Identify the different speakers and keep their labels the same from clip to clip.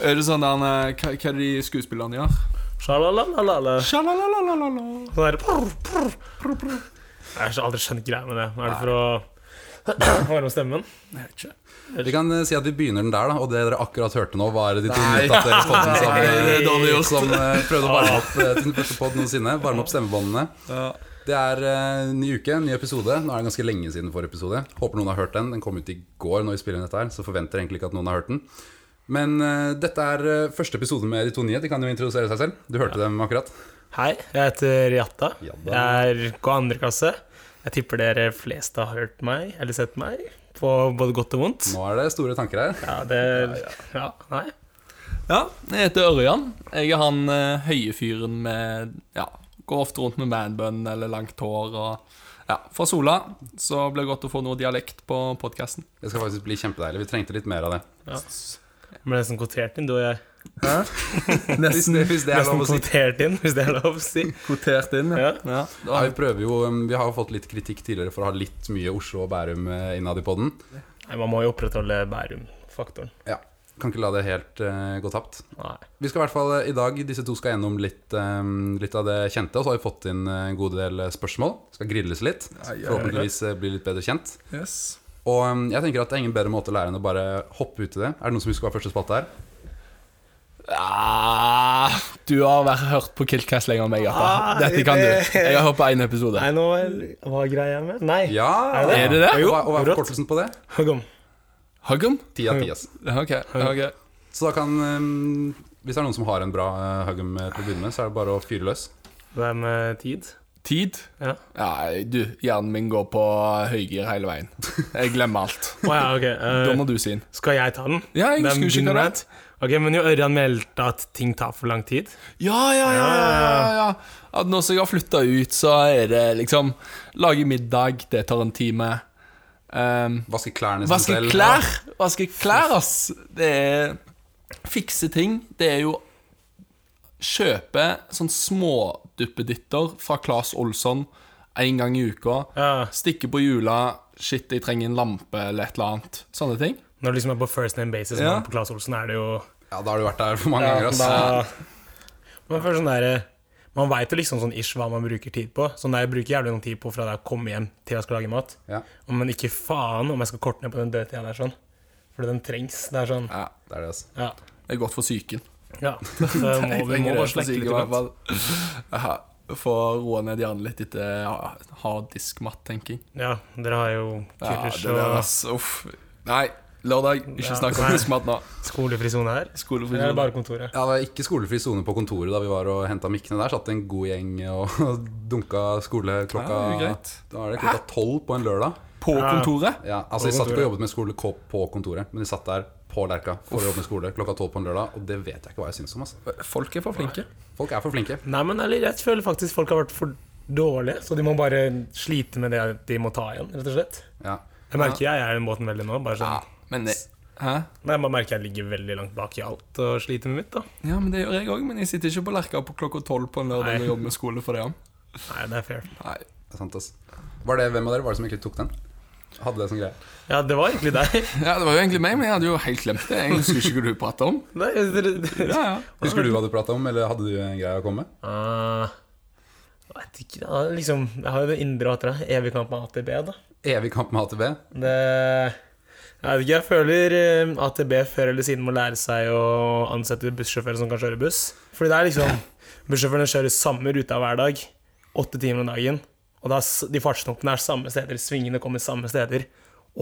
Speaker 1: Er det sånn der, eh, hva, hva er det de skuespillerne gjør?
Speaker 2: Sjalalalala.
Speaker 1: Sjalalalalala.
Speaker 2: Sånn der prr, prr, prr, prr. Jeg har aldri skjønt greia med det. Er det for å varme stemmen?
Speaker 1: Jeg vet ikke.
Speaker 3: Vi kan eh, si at vi begynner den der, da. Og det dere akkurat hørte nå, var de to nytattere podden
Speaker 1: det er dårlig
Speaker 3: sammen
Speaker 1: gjort.
Speaker 3: eh, som eh, prøvde å varme opp eh, til den første podden noensinne. Varme opp stemmebåndene.
Speaker 1: Ja.
Speaker 3: Det er eh, ny uke, ny episode. Nå er det ganske lenge siden forrige episode. Håper noen har hørt den. Den kom ut i går når vi spiller inn dette her, så forventer jeg egentlig ikke at noen har hørt den. Men eh, dette er eh, første episode med de to nye. De kan jo introdusere seg selv. Du hørte dem akkurat.
Speaker 2: Hei, jeg heter Jatta.
Speaker 3: Jatta.
Speaker 2: Jeg er på andre klasse. Jeg tipper dere flest har hørt meg, eller sett meg, på både godt og vondt.
Speaker 3: Nå er det store tanker her.
Speaker 2: Ja, det Ja, nei.
Speaker 1: ja. Jeg heter Ørjan. Jeg er han eh, høye fyren med Ja, går ofte rundt med manbun eller langt hår og Ja, fra Sola. Så blir det godt å få noe dialekt på podkasten.
Speaker 3: Det skal faktisk bli kjempedeilig. Vi trengte litt mer av det.
Speaker 2: Ble nesten kvotert inn, du og jeg.
Speaker 3: Hvis det, hvis det er
Speaker 2: Nesten
Speaker 3: lov å si.
Speaker 2: kvotert inn, hvis det er lov å si.
Speaker 1: Kvotert inn,
Speaker 2: Ja.
Speaker 1: ja.
Speaker 3: Ja, vi prøver jo um, Vi har jo fått litt kritikk tidligere for å ha litt mye Oslo og Bærum eh, innad i poden.
Speaker 2: Nei, man må jo opprettholde Bærum-faktoren.
Speaker 3: Ja, kan ikke la det helt eh, gå tapt.
Speaker 2: Nei.
Speaker 3: Vi skal i hvert fall eh, i dag, disse to skal gjennom litt, eh, litt av det kjente, og så har vi fått inn eh, en god del eh, spørsmål. Skal grilles litt.
Speaker 1: Ja, ja, ja.
Speaker 3: Forhåpentligvis eh, bli litt bedre kjent.
Speaker 1: Yes.
Speaker 3: Og um, jeg tenker at det er ingen bedre måte å lære enn å bare hoppe ut i det. Er det noen som husker hva første spalte er?
Speaker 1: Ah, du har vært hørt på Kiltcast lenger enn meg, Jatta.
Speaker 2: Ah,
Speaker 1: Dette kan du.
Speaker 2: det-
Speaker 1: Jeg har hørt på én episode.
Speaker 2: Nei, nå Hva er greia med Nei.
Speaker 3: Ja!
Speaker 1: Er det det?
Speaker 3: Hva, og hva er
Speaker 2: rått.
Speaker 3: forkortelsen på det?
Speaker 2: Kom.
Speaker 1: Huggum?
Speaker 3: Ti av ti, ass.
Speaker 1: OK. ok
Speaker 3: Så da kan um, Hvis det er noen som har en bra uh, Huggum eh, til å begynne med, så er det bare å fyre løs.
Speaker 2: Det er med tid.
Speaker 1: Tid?
Speaker 2: Ja.
Speaker 1: Nei, du, hjernen min går på høygir hele veien. Jeg glemmer alt.
Speaker 2: Å ja, ok.
Speaker 1: Da
Speaker 2: eh,
Speaker 1: må du si den.
Speaker 2: skal jeg ta den?
Speaker 1: Ja, jeg
Speaker 2: Det er
Speaker 1: husker ikke
Speaker 2: din
Speaker 1: hva det
Speaker 2: rant. Ok, Men jo Ørjan meldte at ting tar for lang tid.
Speaker 1: Ja, ja, ja. ja, ja, ja. At nå som jeg har flytta ut, så er det liksom Lage middag, det tar en time. Um,
Speaker 3: Vaske klærne sine
Speaker 1: vaske
Speaker 3: selv.
Speaker 1: klær! Vaske klær, ass! Det er Fikse ting. Det er jo Kjøpe sånn småduppeditter fra Claes Olsson én gang i uka.
Speaker 2: Ja.
Speaker 1: Stikke på hjula. Shit, jeg trenger en lampe eller et eller annet. Sånne ting.
Speaker 2: Når du liksom er på first name basis
Speaker 1: Ja.
Speaker 2: med på Claes Olsen, er det jo
Speaker 3: Ja, da har du vært der for mange
Speaker 2: ja,
Speaker 3: ganger, ass.
Speaker 2: da, Man føler sånn der, eh, Man veit jo liksom sånn ish hva man bruker tid på. Sånn der, Jeg bruker jævlig lang tid på fra da jeg kommer hjem til jeg skal lage mat.
Speaker 3: Ja,
Speaker 2: Men ikke faen om jeg skal korte ned på den dødtida der, sånn. Fordi den trengs. Det er sånn
Speaker 1: Ja,
Speaker 3: det er det, ass.
Speaker 2: Ja.
Speaker 1: Det er godt for psyken.
Speaker 2: ja. Det må,
Speaker 1: Jeg
Speaker 2: vi må
Speaker 1: trenger det
Speaker 2: bare
Speaker 1: for
Speaker 2: slekte
Speaker 1: psyken,
Speaker 2: litt
Speaker 1: i hvert
Speaker 2: iblant.
Speaker 1: fall. Ja, Få roa ned hjernen litt etter ja, hard diskmatt-tenking.
Speaker 2: Ja, dere har jo
Speaker 1: Ja,
Speaker 2: kurs
Speaker 1: det der,
Speaker 2: og
Speaker 1: ass. Uff. Nei, lørdag. Ikke
Speaker 2: Ja.
Speaker 1: snakk om
Speaker 2: Nei.
Speaker 1: diskmatt nå.
Speaker 2: skolefri sone her.
Speaker 1: Skolefri
Speaker 2: Eller
Speaker 1: sone.
Speaker 2: er det bare kontoret?
Speaker 3: Ja, det var ikke skolefri sone på kontoret da vi var og henta mikkene der. Satt en god gjeng og dunka skole klokka
Speaker 1: Ja, det er greit.
Speaker 3: Da er det klokka tolv på en lørdag.
Speaker 1: På
Speaker 2: Ja.
Speaker 1: kontoret?
Speaker 3: Ja, altså
Speaker 2: På
Speaker 3: De satt ikke
Speaker 2: kontoret.
Speaker 3: og jobbet med skole ko- på kontoret, men de satt der på Lerka for å jobbe med skole klokka tolv på en lørdag. Og det vet jeg ikke hva jeg syns om. Altså.
Speaker 1: Folk er for flinke.
Speaker 3: Folk er for flinke.
Speaker 2: Nei, men eller, jeg føler faktisk folk har vært for dårlige, så de må bare slite med det de må ta igjen, rett og slett.
Speaker 3: Ja.
Speaker 2: Jeg merker jeg er i den båten veldig nå. Bare
Speaker 1: Ja,
Speaker 2: sånn,
Speaker 1: men det Hæ?
Speaker 2: nei, jeg bare merker jeg ligger veldig langt bak i alt og sliter med mitt, da.
Speaker 1: Ja, men det gjør jeg òg, men jeg sitter ikke på Lerka på klokka tolv på en lørdag
Speaker 2: Nei.
Speaker 1: og jobber med skole for det. ja.
Speaker 2: Nei, det er fair.
Speaker 1: Nei.
Speaker 3: Det er sant, ass. Var det hvem av dere var det som egentlig tok den? Hadde det som greie?
Speaker 2: Ja, det var egentlig deg.
Speaker 1: Ja, det var jo egentlig meg, men jeg hadde jo helt glemt det. Jeg husker ikke hva du pratet om.
Speaker 2: Nei, dere- dere-
Speaker 1: Ja, ja.
Speaker 3: Husker du hva du prata om, eller hadde du en greie å komme med?
Speaker 2: Ah, jeg vet ikke, da, liksom, jeg har jo det indre hatet. da. Evig kamp med AtB, da.
Speaker 3: Evig kamp med AtB.
Speaker 2: Det, jeg vet ikke, jeg føler eh, AtB før eller siden må lære seg å ansette bussjåfører som kan kjøre buss. Fordi det er liksom Bussjåførene kjører samme ruta hver dag, åtte timer om dagen. Og da, er s- de fartsdumpene er samme steder, svingene kommer samme steder.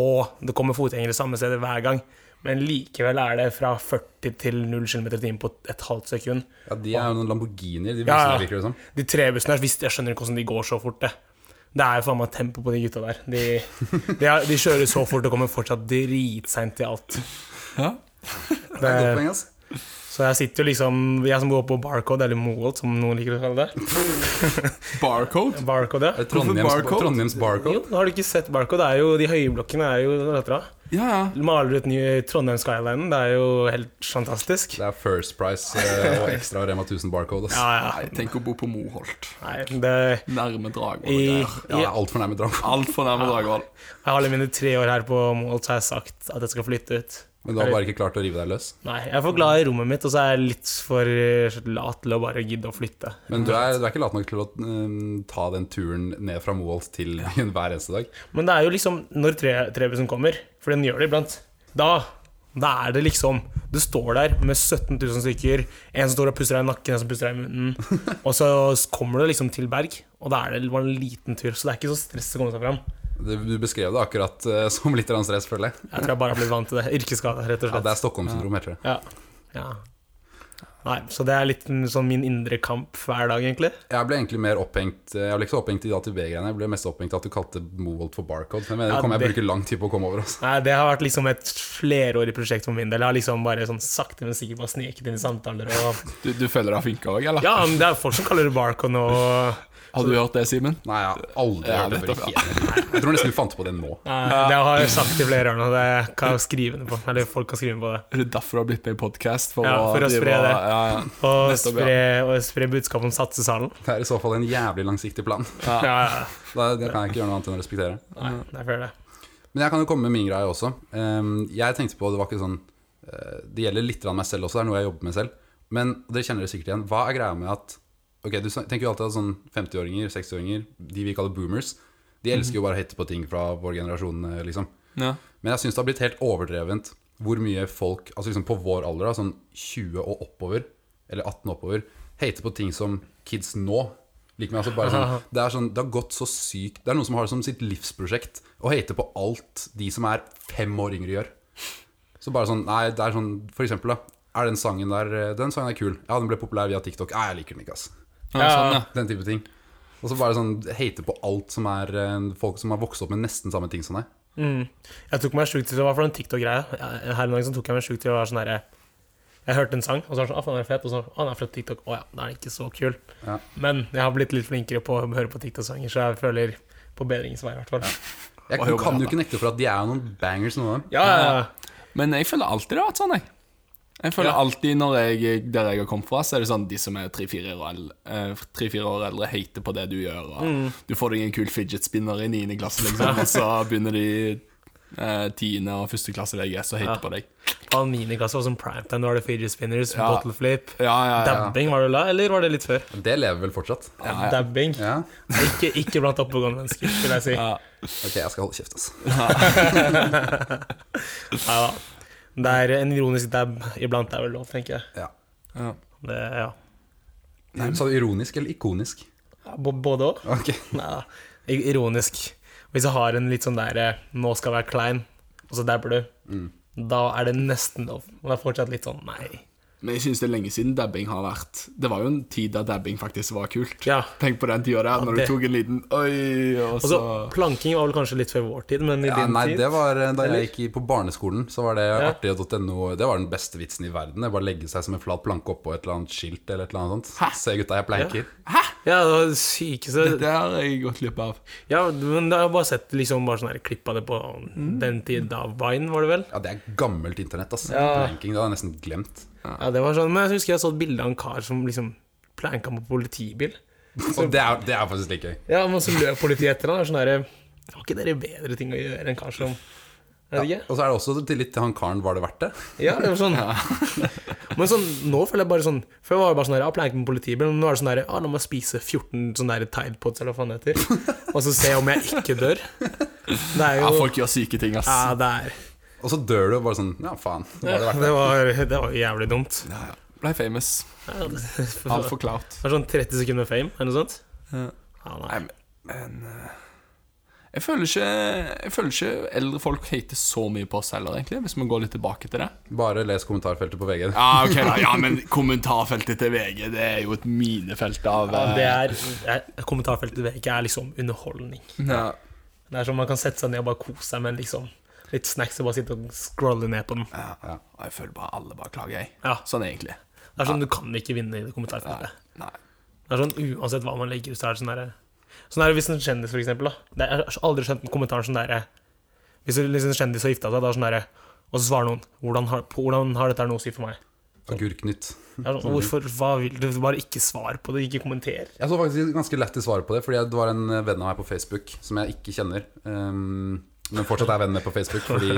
Speaker 2: Og det kommer fotgjengere samme steder hver gang. Men likevel er det fra 40 til 0 km i timen på et halvt sekund.
Speaker 3: Ja, De er jo noen Lamborghinier, de bussene,
Speaker 2: Ja, ja.
Speaker 3: virker det som.
Speaker 2: De tre bussene her, visst, jeg skjønner ikke hvordan de går så fort, det. Det er jo faen meg tempo på de gutta der. De, de, er, de kjører så fort og kommer fortsatt dritseint til alt.
Speaker 1: ja.
Speaker 3: Det
Speaker 2: Det-
Speaker 3: er et godt poeng, ass.
Speaker 2: så jeg sitter jo liksom Jeg som går på Barcode, eller Moholt, som noen liker å kalle det.
Speaker 1: Barcode?
Speaker 2: Barcode,
Speaker 3: Er
Speaker 2: ja.
Speaker 3: det Trondheims
Speaker 1: barcode?
Speaker 3: barcode? Trondheims barcode?
Speaker 2: Jo, har du ikke sett Barcode? Det er jo, de høyblokkene er jo lettere.
Speaker 1: Ja, ja.
Speaker 2: Maler du et ny Trondheim Skyline, det er jo helt fantastisk.
Speaker 3: Det er First Price eh, og ekstra Rema 1000 barcode. Ass.
Speaker 2: Ja, ja.
Speaker 1: Nei, tenk å bo på Moholt.
Speaker 2: Nei, det
Speaker 1: Nærme Dragvoll. og
Speaker 2: i,
Speaker 1: greier.
Speaker 3: Ja, jeg er altfor nærme Dragvoll.
Speaker 1: Altfor nærme Dragvoll.
Speaker 2: Jeg har alle mine tre år her på Moholt, så har jeg sagt at jeg skal flytte ut.
Speaker 3: Men du har bare ikke klart å rive deg løs?
Speaker 2: Nei, jeg er for glad i rommet mitt, og så er jeg litt for eh, lat til å bare gidde å flytte.
Speaker 3: Men du er, du er ikke lat nok til å eh, ta den turen ned fra Moholt til byen hver eneste dag?
Speaker 2: Men det er jo liksom når tre- trebusen kommer, for den gjør det iblant, da, da er det liksom Du står der med 17 000 stykker, en som står og puster deg i nakken, en som puster deg i munnen, og så kommer du liksom til berg, og da er det bare en liten tur, så det er ikke så stress å komme seg fram.
Speaker 3: Du, du beskrev det akkurat eh, som litt grann stress, føler jeg.
Speaker 2: Jeg tror jeg bare har blitt vant til det. Yrkesskade, rett og
Speaker 3: Ja,
Speaker 2: slett.
Speaker 3: det er Stockholm-syndrom, heter det.
Speaker 2: Ja. ja. Nei, så det er litt sånn min indre kamp hver dag, egentlig.
Speaker 3: Jeg ble egentlig mer opphengt eh, Jeg ble ikke så opphengt i ATB-greiene, jeg ble mest opphengt i at du kalte Moholt for barcode. Jeg mener,
Speaker 2: Ja,
Speaker 3: det kommer jeg
Speaker 2: det-
Speaker 3: bruke lang tid på å komme over. Altså.
Speaker 2: Nei, Det har vært liksom et flerårig prosjekt for min del. Jeg har liksom bare sånn sakte, men sikkert bare sneket inn i samtaler. Og...
Speaker 1: Du, du føler deg flinka òg, eller?
Speaker 2: Ja, men det er folk som kaller det barcon og
Speaker 1: Har du hørt det, Simen?
Speaker 3: Nei, jeg har aldri
Speaker 1: Ja,
Speaker 3: hørt det
Speaker 1: nettopp,
Speaker 3: før. Jeg tror nesten vi fant på det nå.
Speaker 2: Nei, Det har jeg sagt i flere år nå. Det kan jeg skrive ned på. Eller folk kan skrive ned på det.
Speaker 1: Er det derfor du har blitt med i podkast?
Speaker 2: Ja, for å spre det.
Speaker 1: Ja, ja.
Speaker 2: Og
Speaker 1: Nettopp, ja.
Speaker 2: spre, og spre budskapet om Satsesalen.
Speaker 3: Det er i så fall en jævlig langsiktig plan.
Speaker 2: Ja, ja.
Speaker 3: Da, det kan jeg ikke gjøre noe annet enn å respektere.
Speaker 2: Nei, det er fair, det.
Speaker 3: Men jeg kan jo komme med min greie også. Ehm, jeg tenkte på, det var ikke sånn eh, Det gjelder litt grann meg selv også, det er noe jeg jobber med selv. Men og dere kjenner det sikkert igjen. Hva er greia med at Ok, Du snak- tenker jo alltid at sånn 50-åringer, 60-åringer, de vi kaller boomers, de elsker jo bare å hate på ting fra vår generasjon, eh, liksom.
Speaker 1: Ja.
Speaker 3: Men jeg syns det har blitt helt overdrevent hvor mye folk, altså liksom på vår alder, da, sånn 20 og oppover, eller 18 og oppover, hater på ting som kids nå liker med. Altså bare sånn, det, er sånn, det har gått så sykt Det er noen som har det som sitt livsprosjekt å hate på alt de som er fem år yngre, gjør. Så bare sånn Nei, det er sånn For eksempel, da. Er den sangen der eh, Den sangen er kul. Ja, den ble populær via TikTok. Nei, jeg liker den ikke, ass.
Speaker 1: Ja, sånn, ja.
Speaker 3: Den type ting. Og så bare sånn hate på alt som er eh, folk som har vokst opp med nesten samme ting som deg.
Speaker 2: Jeg tok meg sjukt til å være for den TikTok-greia. Jeg- Her i dag så tok jeg meg sjukt til å være sånn herre Jeg hørte en sang, og så var det sånn Å, den er fet. Og så Å, den er fra TikTok. Å ja, den er ikke så kul.
Speaker 3: Ja.
Speaker 2: Men jeg har blitt litt flinkere på å høre på TikTok-sanger, så jeg føler på bedringens vei, i hvert fall.
Speaker 3: Jeg
Speaker 1: Og
Speaker 3: kan,
Speaker 1: jobber her,
Speaker 3: kan jo ikke nekte for at de er jo noen bangers, noen av dem.
Speaker 2: Ja, ja, ja.
Speaker 1: Men jeg føler alltid det har vært sånn, jeg. Jeg føler alltid når jeg, der jeg har kommet fra, så er det sånn de som er tre-fire år, el- eh, tre-fire år eldre, hater på det du gjør. Og
Speaker 2: Mm.
Speaker 1: Du får deg en kul fidget spinner i niende klasse, liksom, og så begynner de eh, tiende og første klasse deg, så hater
Speaker 2: Ja.
Speaker 1: på deg.
Speaker 2: På miniklasse var sånn primetime. Da var det fidget spinners,
Speaker 1: Ja.
Speaker 2: bottle flip.
Speaker 1: Ja, ja, ja.
Speaker 2: Dabbing var det da, eller var det litt før?
Speaker 3: Det lever vel fortsatt.
Speaker 1: ja, ja.
Speaker 2: Dabbing.
Speaker 3: Ja.
Speaker 2: Ikke, ikke blant oppegående mennesker, vil jeg si.
Speaker 1: Ja.
Speaker 3: Ok, jeg skal holde kjeft, altså.
Speaker 2: Neida. Det er en ironisk dab iblant er vel lov, tenker jeg.
Speaker 3: Ja.
Speaker 1: Ja.
Speaker 2: Det, ja.
Speaker 3: Nei, Sa du ironisk eller ikonisk?
Speaker 2: B- Både òg.
Speaker 3: Ok,
Speaker 2: Neida. I- Ironisk. Hvis jeg har en litt sånn der eh, 'nå skal jeg være klein', og så dabber du, da er det nesten lov. Men det er fortsatt litt sånn nei.
Speaker 1: Men jeg syns det er lenge siden dabbing har vært Det var jo en tid da dabbing faktisk var kult.
Speaker 2: Ja.
Speaker 1: Tenk på den tida der, når du
Speaker 2: det-
Speaker 1: tok en liten Oi, og
Speaker 2: Altså,
Speaker 1: så
Speaker 2: planking var vel kanskje litt før vår tid, men i
Speaker 3: ja,
Speaker 2: din
Speaker 3: Nei,
Speaker 2: tid
Speaker 3: det var eh, da jeg gikk i- på barneskolen, så var det
Speaker 2: Ja.
Speaker 3: artig.no. Det var den beste vitsen i verden. Det Bare legge seg som en flat planke oppå et eller annet skilt eller et eller annet sånt. Se gutta, jeg planker.
Speaker 2: Ja, det var det sykeste
Speaker 1: Det har jeg gått glipp av.
Speaker 2: Ja, men jeg har bare sett liksom bare sånn her klipp av det på den tiden av Vine, var det vel?
Speaker 3: Ja, det er gammelt internett, ass.
Speaker 2: Ja.
Speaker 3: Planking, det hadde jeg nesten glemt.
Speaker 2: Ja, det var sånn, men jeg husker jeg så et bilde av en kar som liksom planka på politibil.
Speaker 3: Og det er, det er faktisk litt gøy.
Speaker 2: Ja, men så løp politiet etter han. og Sånn der, har ikke dere bedre ting å gjøre enn kar som Jeg vet
Speaker 3: Ja.
Speaker 2: ikke.
Speaker 3: Og så er det også til litt til han karen, var det verdt det?
Speaker 2: Ja, det var sånn. Men sånn, nå føler jeg bare sånn Før var det bare sånn der, ja, planke på politibil, men nå er det sånn der, ja, la meg spise 14 sånne der Tide Pods, eller hva faen det heter, og så se om jeg ikke dør. Det er
Speaker 1: Ja,
Speaker 2: jo
Speaker 1: folk gjør syke ting, ass.
Speaker 2: Ja, det er
Speaker 3: Og så dør du og bare sånn, ja faen, var det verdt det?
Speaker 2: Det var, det var jævlig dumt.
Speaker 1: Ja, ja. Blei famous.
Speaker 2: Ja, det-
Speaker 1: Altfor klart.
Speaker 2: Det er sånn 30 sekunder med fame, eller noe sånt?
Speaker 1: Ja.
Speaker 2: Ja, nei.
Speaker 1: Nei, men, men eh, jeg, føler ikke, jeg føler ikke eldre folk hater så mye på oss heller, egentlig, hvis vi går litt tilbake til det.
Speaker 3: Bare les kommentarfeltet på VG.
Speaker 1: Ja, ok da, ja, men kommentarfeltet til VG, det er jo et minefelt av
Speaker 2: Ja,
Speaker 1: eh,
Speaker 2: det er, det er- Kommentarfeltet til VG er liksom underholdning.
Speaker 1: ja.
Speaker 2: Det er sånn Man kan sette seg ned og bare kose seg med en liksom litt snacks og bare sitte og scrolle ned på den. Det
Speaker 1: Ja. Og jeg føler bare alle bare klager, jeg.
Speaker 2: Ja.
Speaker 1: Sånn egentlig.
Speaker 2: er sånn Du kan ikke vinne i det kommentarfeltet.
Speaker 1: Nei.
Speaker 2: Det er sånn Uansett hva man legger ut, så er det sånn derre Sånn er det hvis en kjendis, for eksempel. Da. Det er, jeg har aldri skjønt den kommentaren sånn derre Hvis en hvis en kjendis har gifta seg, da er det sånn derre og så svarer noen hvordan har, 'Hvordan har dette her noe å si for meg?'
Speaker 3: Agurknytt.
Speaker 2: Det er Sånn, Hvorfor, hva vil du? Bare ikke svar på det, ikke kommenter.
Speaker 3: Jeg så faktisk et ganske lett til svar på det, fordi det var en venn av meg på Facebook som jeg ikke kjenner. ehm, men fortsatt er venn med på Facebook, fordi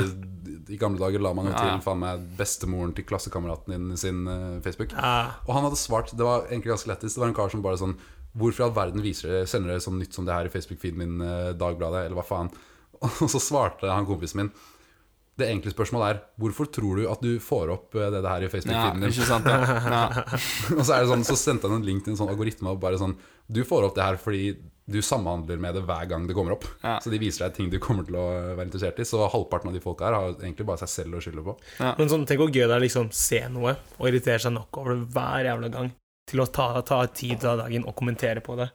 Speaker 3: I gamle dager la man jo
Speaker 1: Ja, ja.
Speaker 3: til faen meg bestemoren til klassekameraten din sin eh, Facebook.
Speaker 2: Ja.
Speaker 3: Og han hadde svart Det var egentlig ganske lættis. Det var en kar som bare sånn Hvorfor i all verden viser dere, sender dere sånn nytt som det her i Facebook-feeden min, eh, Dagbladet, eller hva faen? Og så svarte han kompisen min Det enkle spørsmålet er Hvorfor tror du at du får opp eh, det, det her i
Speaker 1: Ja,
Speaker 3: Facebook-feeden din?
Speaker 1: ikke sant? Ja. Ja.
Speaker 3: Og så, er det sånn, så sendte han en link til en sånn algoritme og bare sånn Du får opp det her fordi du samhandler med det hver gang det kommer opp.
Speaker 1: Ja.
Speaker 3: Så de viser deg ting du kommer til å være interessert i. Så halvparten av de folka her har egentlig bare seg selv å skylde på.
Speaker 2: Men sånn, tenk hvor gøy det er å liksom se noe og irritere seg nok over det hver jævla gang til å ta, ta tid av dagen og kommentere på det.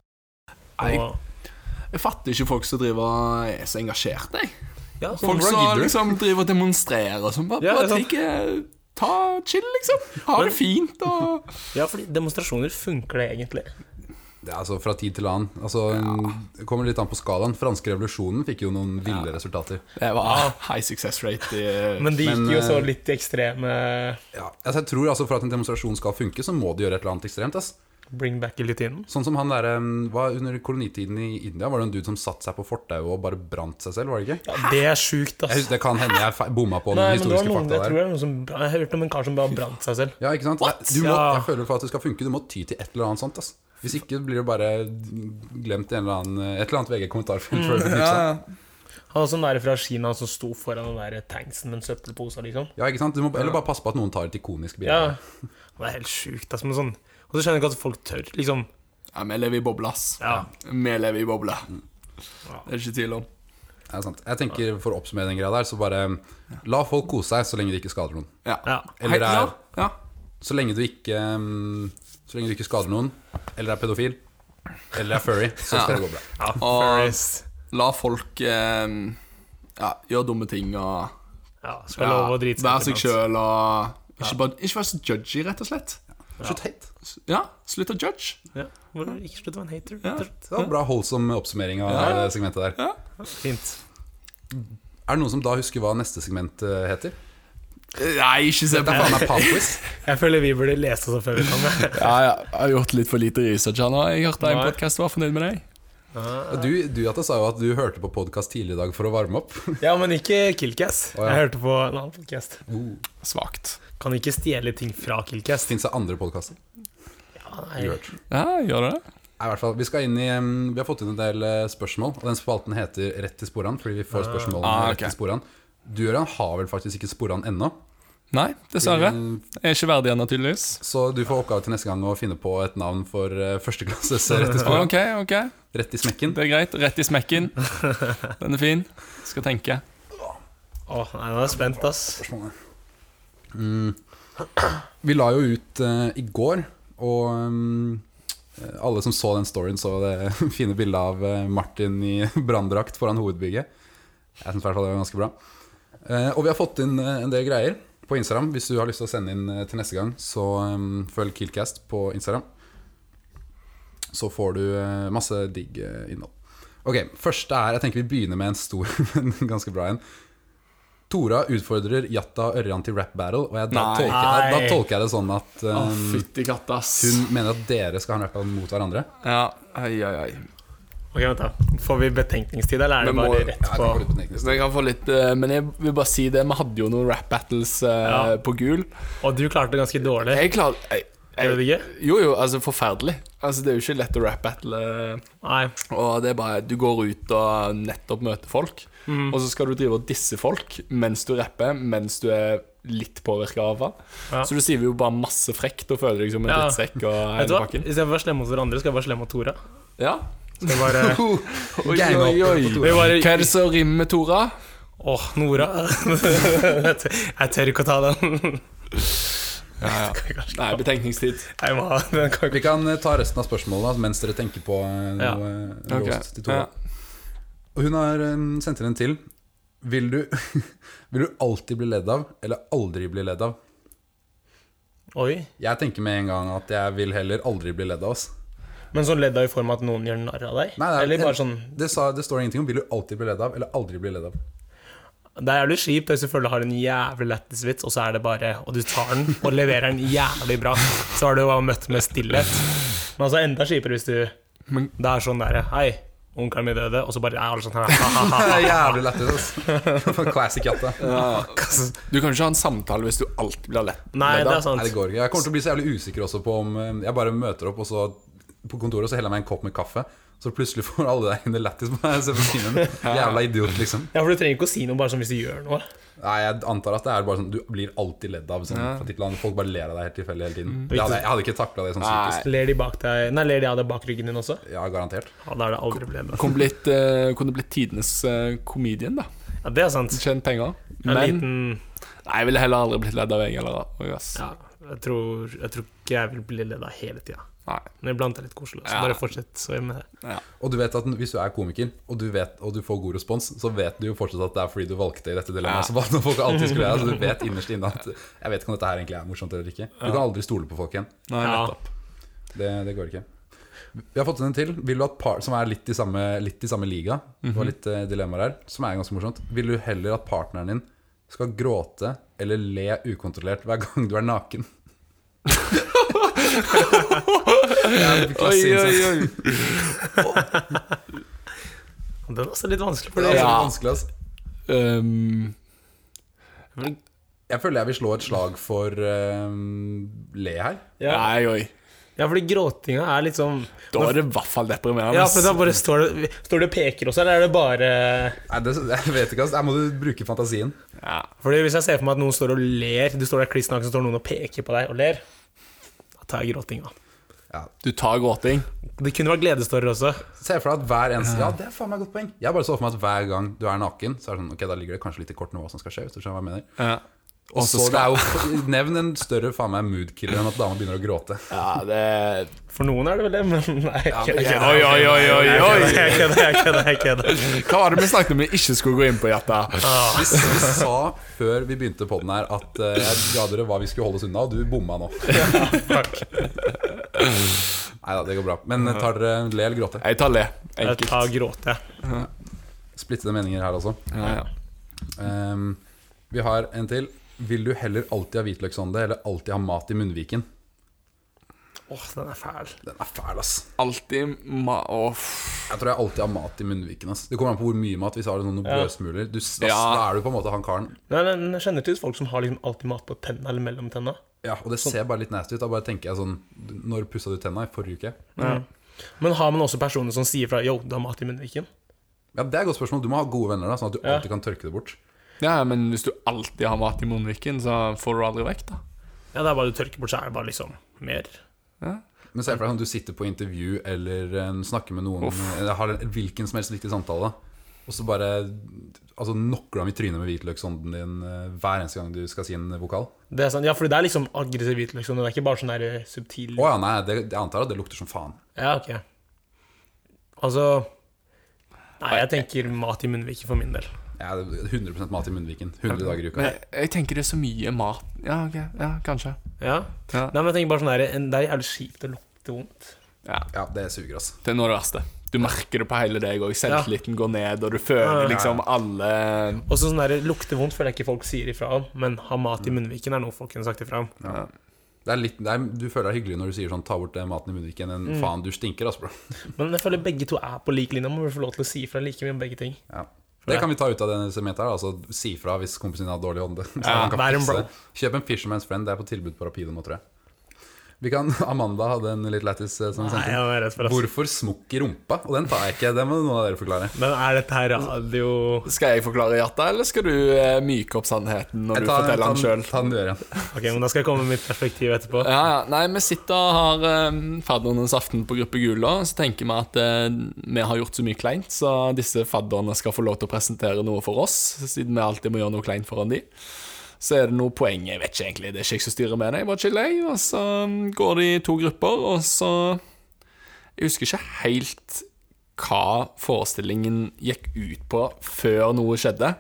Speaker 1: Nei,
Speaker 2: Og,
Speaker 1: Jeg fatter ikke folk som driver og er så engasjerte, jeg.
Speaker 2: ja, sånn,
Speaker 1: Folk
Speaker 3: hvordan gidder
Speaker 1: som
Speaker 3: du?
Speaker 1: liksom driver og demonstrerer og sånn. Bare,
Speaker 2: Ja,
Speaker 1: bare
Speaker 2: det er sant.
Speaker 1: ikke Ta chill, liksom. Ha det fint og
Speaker 2: ja, fordi demonstrasjoner funker det egentlig.
Speaker 3: Det er altså fra tid til annen. Altså, Det kommer litt an på skalaen. Franske revolusjonen fikk jo noen ville resultater.
Speaker 1: Det var high success rate i
Speaker 2: Men de gikk
Speaker 3: Men,
Speaker 2: jo så
Speaker 3: eh,
Speaker 2: litt i ekstreme
Speaker 3: Ja. Altså, jeg tror altså For at en demonstrasjon skal funke, så må de gjøre et eller annet ekstremt. Ass.
Speaker 2: bring back i lutinen.
Speaker 3: Sånn som han der, um, var Under kolonitiden i India var det en dude som satte seg på fortauet og bare brant seg selv, var det ikke?
Speaker 2: Ja, det er sjukt,
Speaker 3: Jeg husker,
Speaker 2: ass.
Speaker 3: det kan hende jeg fe- bomma på
Speaker 2: Nei, men det var
Speaker 3: noen historiske
Speaker 2: noen,
Speaker 3: fakta
Speaker 2: jeg
Speaker 3: der.
Speaker 2: tror det er noen som Jeg hørte om en kar som bare brant seg selv.
Speaker 3: Ja, ikke sant? Du må,
Speaker 2: Ja.
Speaker 3: jeg føler for at det skal funke, du må ty til et eller annet sånt. Ass. Hvis ikke blir det bare glemt i en eller annen, et eller annet VG-kommentarfelt.
Speaker 2: Mm,
Speaker 3: før det blir knipset.
Speaker 2: Han var sånn der fra Kina som sto foran den der tanksen med en søppelpose, liksom.
Speaker 3: Ja, ikke sant? Du må, eller bare passe på at noen tar et ikonisk bilde.
Speaker 2: Ja. Det er helt sjukt, ass. Men sånn Og så skjønner jeg ikke at folk tør, liksom.
Speaker 1: Ja, vi lever i bobla, ass.
Speaker 2: Ja.
Speaker 1: Vi lever i bobla. Det er ikke tvil om.
Speaker 3: Det er sant. Jeg tenker For å oppsummere den greia der, så bare la folk kose seg så lenge de ikke skader noen.
Speaker 1: Ja.
Speaker 2: Ja.
Speaker 3: Eller
Speaker 1: Hei-
Speaker 3: er-
Speaker 1: ja, ja.
Speaker 3: Så lenge du ikke um, Så lenge du ikke skader noen, eller er pedofil, eller er furry, så skal det gå bra.
Speaker 2: ja
Speaker 1: Og-
Speaker 2: furries.
Speaker 1: La folk eh, ja, gjøre dumme ting og
Speaker 2: Ja, skal
Speaker 1: ja,
Speaker 2: love å drite
Speaker 1: være seg
Speaker 2: ut, ass.
Speaker 1: sjøl og ikke, bare, ikke være så judgy, rett og slett.
Speaker 3: Slutt hate.
Speaker 1: Ja, slutt å judge.
Speaker 2: Ja. Hvorfor Ikke slutt å være en hater. Sånn.
Speaker 1: Ja.
Speaker 3: Det var en bra holdsom oppsummering av
Speaker 1: Ja.
Speaker 3: det segmentet der.
Speaker 2: Fint.
Speaker 3: Er det noen som da husker hva neste segment eh, heter?
Speaker 1: Nei, ikke se
Speaker 3: Det
Speaker 1: på
Speaker 3: er faen meg popquiz.
Speaker 2: Jeg føler vi burde lese oss opp før vi kan.
Speaker 1: Ja, ja, jeg har gjort litt for lite research her nå. Jeg hørte en
Speaker 2: Nei.
Speaker 1: podkast var fornøyd med deg.
Speaker 3: Du, du Jata, sa jo at du hørte på podkast tidligere i dag for å varme opp.
Speaker 2: Ja, men ikke Killcast.
Speaker 3: Å, ja.
Speaker 2: Jeg hørte på en annen podcast.
Speaker 1: Svakt.
Speaker 2: Kan ikke stjele ting fra Killcast.
Speaker 3: Fins det andre podkaster?
Speaker 2: Ja, nei.
Speaker 3: Vi
Speaker 1: Ja, gjør det det?
Speaker 3: skal inn i um, Vi har fått inn en del eh, spørsmål, og den spalten heter Rett til sporene. Fordi vi får spørsmål om
Speaker 1: Ah, ok.
Speaker 3: rett til sporene. Du Gøran, har vel faktisk ikke sporene ennå,
Speaker 1: Nei, dessverre.
Speaker 3: Mm.
Speaker 1: Jeg er ikke verdig ennå, tydeligvis.
Speaker 3: så du får oppgave til neste gang å finne på et navn for eh, førsteklasses rett til sporene.
Speaker 1: Ok, ok.
Speaker 3: Rett i smekken.
Speaker 1: Det er greit. Rett i smekken. Den er fin. Skal tenke.
Speaker 2: Å, nei, nå er jeg spent, ass.
Speaker 3: Vi la jo ut eh, i går, og um, alle som så den storyen, så det fine bildet av eh, Martin i branndrakt foran hovedbygget. Jeg syns i hvert fall det var ganske bra. Eh, og vi har fått inn eh, en del greier på Instagram. Hvis du har lyst til å sende inn eh, til neste gang, så um, følg Killcast på Instagram. Så får du eh, masse digg eh, innhold. Ok, Første er Jeg tenker vi begynner med en stor, men ganske bra en. Tora utfordrer Jatta og Ørjan til rap battle, og jeg, da,
Speaker 1: Nei.
Speaker 3: tolker jeg, da
Speaker 2: Nei.
Speaker 3: tolker jeg det sånn at
Speaker 1: Å,
Speaker 3: um,
Speaker 1: fytti katta, ass.
Speaker 3: hun mener at dere skal ha en rap battle mot hverandre.
Speaker 1: Ja, oi, oi, oi.
Speaker 2: Ok, vent da. Får vi betenkningstid, eller er det
Speaker 1: Men må-
Speaker 2: bare rett
Speaker 3: Ja, det
Speaker 2: på
Speaker 3: går litt på teknisk.
Speaker 1: Så jeg kan få litt eh, Men jeg vil bare si det, vi hadde jo noen rap battles eh,
Speaker 2: Ja.
Speaker 1: på gul.
Speaker 2: Og du klarte det ganske dårlig.
Speaker 1: Jeg klarer jeg,
Speaker 2: Gjør du
Speaker 1: jeg,
Speaker 2: det ikke?
Speaker 1: Jo, jo, altså forferdelig. Altså Det er jo ikke lett å rap battle. eh,
Speaker 2: Nei.
Speaker 1: Og det er bare Du går ut og nettopp møter folk,
Speaker 2: Mm.
Speaker 1: og så skal du drive og disse folk mens du rapper, mens du er litt påvirka av det.
Speaker 2: Ja.
Speaker 1: Så du sier jo bare masse frekt og føler deg som en
Speaker 2: Ja.
Speaker 1: drittsekk og
Speaker 2: Vet du
Speaker 1: hele
Speaker 2: hva?
Speaker 1: pakken.
Speaker 2: Istedenfor å være slemme mot hverandre, skal jeg være slem mot Tora.
Speaker 1: Ja.
Speaker 2: Skal jeg bare
Speaker 1: Oi,
Speaker 3: Gang
Speaker 1: oi,
Speaker 3: up på
Speaker 1: oi.
Speaker 3: Tora.
Speaker 2: Vi bare
Speaker 1: Hva er det som rimer med Tora?
Speaker 2: Åh, Nora. jeg tør- jeg tør ikke å ta den.
Speaker 1: Ja, ja.
Speaker 2: Kanskje-
Speaker 1: Nei, betenkningstid.
Speaker 2: Jeg må ha den. kan
Speaker 3: Vi
Speaker 2: ikke-
Speaker 3: kan eh, ta resten av spørsmålet da, mens dere tenker på eh, noe
Speaker 2: Ja.
Speaker 3: eh,
Speaker 1: Ok.
Speaker 3: roast til Tora. Og hun har eh, sendt inn en til. Vil du, vil du alltid bli ledd av, eller aldri bli ledd av?
Speaker 2: Oi.
Speaker 3: Jeg tenker med en gang at jeg vil heller aldri bli ledd av. Ass.
Speaker 2: Men sånn ledd av i form av at noen gjør narr av deg?
Speaker 3: Nei, det, er-
Speaker 2: Eller bare sånn
Speaker 3: det, sa, det står ingenting om 'vil du alltid bli ledd av' eller 'aldri bli ledd av'.
Speaker 2: Det er jævlig kjipt hvis du føler du har en jævlig lættis vits, og så er det bare Og du tar den og leverer den jævlig bra. Så har du jo møtt med stillhet. Men altså enda kjipere hvis du
Speaker 1: Men-
Speaker 2: Det er sånn derre Hei, onkelen min døde, og så bare ja, alle sånn, ha-ha-ha.
Speaker 3: Det er Jævlig lættis. ass. Classic jatte.
Speaker 1: Du kan ikke ha en samtale hvis du alltid blir lett.
Speaker 2: Nei, det er
Speaker 3: Nei, det
Speaker 2: sant.
Speaker 3: går ikke. Jeg kommer til å bli så jævlig usikker også på om eh, jeg bare møter opp og så på kontoret og så heller jeg meg en kopp med kaffe. Så plutselig får alle der inne lættis på meg. Se på timen. Jævla idiot, liksom.
Speaker 2: Ja, for du trenger ikke å si noe bare sånn hvis du gjør noe.
Speaker 3: Nei, jeg antar at det er bare sånn du blir alltid ledd av. Sånn, fra ditt land. Folk bare ler av deg helt tilfeldig hele tiden. Jeg hadde, jeg hadde ikke takla det sånn
Speaker 1: Nei.
Speaker 3: psykisk.
Speaker 2: Ler de bak deg Nei, ler de av deg bak ryggen din også?
Speaker 3: Ja, garantert.
Speaker 2: Ja, da er det aldri problemet.
Speaker 1: Kunne blitt, eh, kunne blitt tidenes eh, comedian, da.
Speaker 2: Ja, det er sant.
Speaker 1: Tjent penger.
Speaker 2: En
Speaker 1: Men
Speaker 2: liten
Speaker 1: nei, jeg ville heller aldri blitt ledd av jeg heller. og jeg, ass.
Speaker 2: Ja, jeg tror, jeg tror ikke jeg vil bli ledd av hele tida.
Speaker 1: Nei.
Speaker 2: Men iblant er det litt koselig. Så
Speaker 1: Ja.
Speaker 2: bare fortsett så med det.
Speaker 3: Og du vet at hvis du er komiker, og du, vet, og du får god respons, så vet du jo fortsatt at det er fordi du valgte i dette dilemmaet. Så bare når folk alltid skulle deg, så du vet innerst inne at Jeg vet ikke om dette her egentlig er morsomt eller ikke. Du kan aldri stole på folk igjen.
Speaker 1: Nei,
Speaker 2: Ja.
Speaker 1: nettopp.
Speaker 3: Det, det går ikke. Vi har fått en til, Vil du at par, som er litt i samme, litt i samme liga. Det
Speaker 1: Mhm.
Speaker 3: var litt eh, dilemmaer her, som er ganske morsomt. Vil du heller at partneren din skal gråte eller le ukontrollert hver gang du er naken?
Speaker 1: Oi, oi, oi.
Speaker 2: Den er også litt vanskelig for
Speaker 3: Det
Speaker 2: deg.
Speaker 3: er
Speaker 1: Ja.
Speaker 3: så vanskelig, ass.
Speaker 1: Ehm,
Speaker 3: Jeg føler jeg vil slå et slag for eh, le her.
Speaker 2: Ja.
Speaker 1: Nei, oi.
Speaker 2: ja, fordi gråtinga er litt sånn
Speaker 1: Da er det i hvert fall deprimerende.
Speaker 2: Ja,
Speaker 1: ass.
Speaker 2: for da bare står det, står det og peker også, eller er det bare
Speaker 3: Nei, det, jeg vet ikke, ass. Der må du bruke fantasien.
Speaker 1: ja.
Speaker 2: Fordi Hvis jeg ser for meg at noen står og ler, du står der kliss naken, så står noen og peker på deg og ler, da tar jeg gråtinga.
Speaker 1: Du tar gråting.
Speaker 2: Det kunne vært gledestårer også.
Speaker 3: Se for deg at hver eneste Ja, det er faen meg et godt poeng. Jeg bare så for meg at hver gang du er naken, så er det sånn Ok, da ligger det kanskje litt i kortene hva som skal skje, hvis du skjønner hva jeg mener.
Speaker 1: Ja.
Speaker 3: Og så det er jo Nevn en større faen meg moodkiller enn at dama begynner å gråte.
Speaker 1: Ja, det
Speaker 2: For noen er det vel det, men nei, jeg kødder.
Speaker 1: Oi, oi, oi, oi, oi.
Speaker 2: Jeg kødder, jeg kødder. jeg kødder.
Speaker 1: Hva var det vi snakket om vi ikke skulle gå inn på, Jette?
Speaker 3: Vi, vi sa før vi begynte på den her, at eh, jeg ga dere hva vi skulle holde oss unna, og du bomma nå. Nei da, det går bra. Men eh, tar dere le eller gråte?
Speaker 1: Jeg tar le.
Speaker 2: Jeg tar
Speaker 1: Enkelt.
Speaker 2: gråte, jeg.
Speaker 3: Splittede meninger her, altså.
Speaker 1: Ja, ja.
Speaker 3: Ehm, vi har en til. Vil du heller alltid ha hvitløksånde eller alltid ha mat i munnviken?
Speaker 2: Åh, den er fæl.
Speaker 3: Den er fæl, ass.
Speaker 1: Alltid ma... Åh.
Speaker 3: Jeg tror jeg alltid har mat i munnviken. Ass. Det kommer an på hvor mye mat. Hvis jeg har noen brødsmuler du, da,
Speaker 1: Ja.
Speaker 3: da er du på en måte han karen.
Speaker 2: Nei, men jeg kjenner til folk som har liksom alltid mat på tenna eller mellom tenna.
Speaker 3: Ja, Og det ser bare litt nasty ut. Da bare tenker jeg sånn Når pussa du tenna? I forrige uke?
Speaker 2: Men har man også personer som sier fra 'yo, du har mat i munnviken'?
Speaker 3: Ja, Det er et godt spørsmål. Du må ha gode venner, da sånn at du
Speaker 2: Ja.
Speaker 3: alltid kan tørke det bort.
Speaker 1: Ja, men hvis du alltid har mat i munnviken, så får du aldri vekk, da.
Speaker 2: Ja, det er bare du tørker bort, så er det bare liksom mer.
Speaker 3: Men se for deg sånn du sitter på intervju eller eh, snakker med noen eller har en hvilken som helst viktig samtale, og så bare Altså knocker du ham i trynet med hvitløksånden din eh, hver eneste gang du skal si en vokal.
Speaker 2: Det er sant, Ja, fordi det er liksom aggressiv hvitløk, så det er ikke bare sånn der subtil
Speaker 3: Å ja, nei, det, jeg antar at det lukter som faen.
Speaker 2: Ja, ok. Altså Nei, jeg tenker mat i munnviken for min del.
Speaker 3: Jeg er 100 mat i munnviken. 100 dager i uka.
Speaker 1: Men jeg, jeg tenker det er så mye mat Ja, ok, ja, kanskje.
Speaker 2: Ja.
Speaker 1: Ja.
Speaker 2: Nei, men jeg tenker bare sånn der, en- Det er jævlig kjipt å lukte vondt.
Speaker 1: Ja,
Speaker 3: Ja, det suger, altså.
Speaker 1: Det er noe av det verste. Du merker det på hele deg òg. Selvtilliten går ned, og du føler liksom alle
Speaker 2: Og så sånn der, lukte vondt føler jeg ikke folk sier ifra om, men ha mat i munnviken er noe folk kunne sagt ifra om.
Speaker 3: Det er litt, det er, du føler deg hyggelig når du sier sånn 'ta bort den maten i munnviken', enn 'faen, du stinker', altså, bro.
Speaker 2: Men jeg føler begge to er på lik linje, man må få lov til å si ifra like mye om begge ting.
Speaker 3: Ja. Det kan vi ta ut av denne sementet her. Altså, si fra hvis kompisen din har dårlig hånd. Så
Speaker 2: Ja,
Speaker 3: han kan
Speaker 2: vær en
Speaker 3: fikse
Speaker 2: bro.
Speaker 3: det. Kjøp en Fisherman's Friend. Det er på tilbud på Rapido nå, tror jeg. Vi kan, Amanda hadde en litt lættis eh, som hun
Speaker 2: Nei, jeg
Speaker 3: sendte.
Speaker 2: er redd for det.
Speaker 3: Hvorfor smokk i rumpa? Og den tar jeg ikke. Den må noen av dere forklare.
Speaker 2: Men er dette her radio
Speaker 1: Skal jeg forklare hjertet, eller skal du eh, myke opp sannheten når
Speaker 3: Jeg
Speaker 1: du
Speaker 3: tar, sånn
Speaker 1: forteller den
Speaker 3: ta,
Speaker 1: sjøl?
Speaker 3: ta den du gjør igjen.
Speaker 2: Ok, men Da skal jeg komme med mitt perspektiv etterpå.
Speaker 1: Ja, ja. Nei, vi sitter og har um, faddernes aften på Gruppe Gula, så tenker vi at eh, vi har gjort så mye kleint, så disse fadderne skal få lov til å presentere noe for oss, siden vi alltid må gjøre noe kleint foran de. Så er det noe poeng, jeg vet ikke egentlig, det er ikke jeg som styrer med det, jeg bare chiller, jeg, og så mm, går det i to grupper, og så Jeg husker ikke helt hva forestillingen gikk ut på før noe skjedde.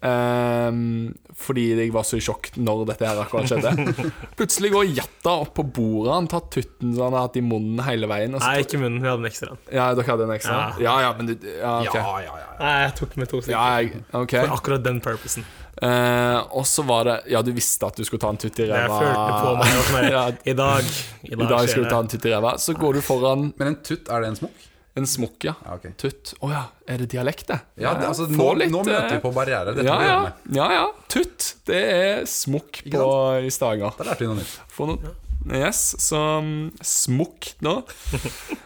Speaker 1: Ehm, fordi jeg var så i sjokk når dette her akkurat skjedde. Plutselig går Jatta opp på bordet. Han tar tutten som han har hatt i munnen hele veien. Og så,
Speaker 2: Nei, ikke munnen. Vi hadde en ekstra. en.
Speaker 1: ja, dere hadde en ekstra? Ja, ja, men du Ja, ok.
Speaker 3: Ja, ja, ja. ja.
Speaker 2: Nei, jeg tok med to stykker.
Speaker 1: Ja, jeg, ok.
Speaker 2: For akkurat den purposen.
Speaker 1: Eh, og så var det Ja, du visste at du skulle ta en tutt i
Speaker 2: Det
Speaker 1: ræva.
Speaker 2: jeg følte på meg. og sånn der,
Speaker 1: Ja,
Speaker 2: I dag I
Speaker 1: I dag
Speaker 2: skjer
Speaker 1: skulle du
Speaker 2: det.
Speaker 1: ta en tutt i ræva. Så går du foran
Speaker 3: Men en tutt, er det en smokk?
Speaker 1: En smokk, ja.
Speaker 3: Ja, ok.
Speaker 1: Tutt. Å ja, er det dialekt, det?
Speaker 3: Ja, det, altså,
Speaker 1: Få
Speaker 3: nå,
Speaker 1: litt,
Speaker 3: nå møter
Speaker 1: eh,
Speaker 3: vi på barriere. Dette
Speaker 1: ja,
Speaker 3: må vi
Speaker 1: ja,
Speaker 3: jobbe med.
Speaker 1: ja, ja. Tutt, det er smokk på, i Stavanger.
Speaker 3: Da lærte vi noe nytt.
Speaker 1: For noe, yes, så mm, smokk nå.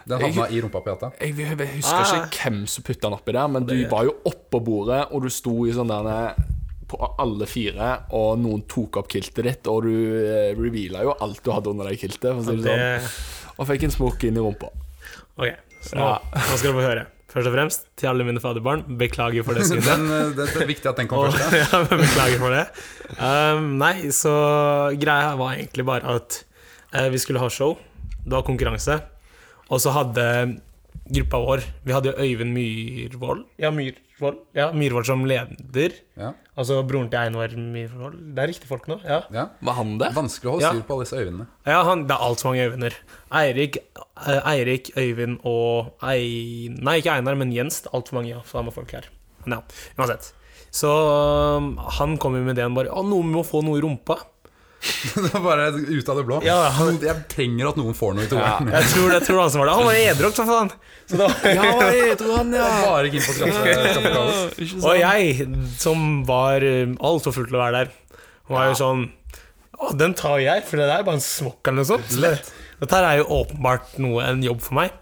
Speaker 3: Den havna i rumpa på Jata.
Speaker 1: Jeg, jeg, jeg husker
Speaker 2: Ah.
Speaker 1: ikke hvem som putta den oppi der, men du var jo oppå bordet, og du sto i sånn der på alle fire, og noen tok opp kiltet ditt, og du eh, reveala jo alt du hadde under deg i kiltet, for å si det liksom. sånn.
Speaker 2: Det,
Speaker 1: Og fikk en smokk inn i rumpa.
Speaker 2: ok, så nå, nå skal du få høre. Først og fremst, til alle mine fadderbarn, beklager for det synet.
Speaker 3: Den, eh, det, det er viktig at den kom
Speaker 2: Og,
Speaker 3: først. ja.
Speaker 2: ja, men beklager for det. Um, nei, så greia var egentlig bare at eh, vi skulle ha show. Det var konkurranse. Og så hadde gruppa vår Vi hadde jo Øyvind Myrvold Ja, Myrvold, ja, Myrvold som leder.
Speaker 3: Ja,
Speaker 2: Altså broren til Einar Myrvold. Det er riktig folk nå? Ja.
Speaker 3: ja.
Speaker 1: Var han det?
Speaker 3: Vanskelig å holde
Speaker 2: Ja.
Speaker 3: styr på alle disse øynene.
Speaker 2: ja han, det er altfor mange Øyvinder. Eirik, eh, Eirik, Øyvind og Ei... Nei, ikke Einar, men Jens. Det er altfor mange ja, samme folk her. Men ja, uansett. Så um, han kom jo med ideen bare Å, noen må få noe i rumpa.
Speaker 3: Det var bare ut av det blå.
Speaker 2: Ja, han-
Speaker 3: Jeg trenger at noen får noe i
Speaker 1: Ja.
Speaker 3: toeren.
Speaker 2: Jeg tror, jeg tror han som var det. Han var edru, for faen. Så det var,
Speaker 1: Ja, jeg tror han, ja.
Speaker 3: Bare keen på å skaffe skaffe kaos.
Speaker 1: Ikke
Speaker 2: og
Speaker 1: sant?
Speaker 2: jeg, som var altfor full til å være der, var jo sånn Å, den tar jeg, for det der er bare en smokk eller noe sånt. Så det- Dette her er jo åpenbart noe, en jobb for meg.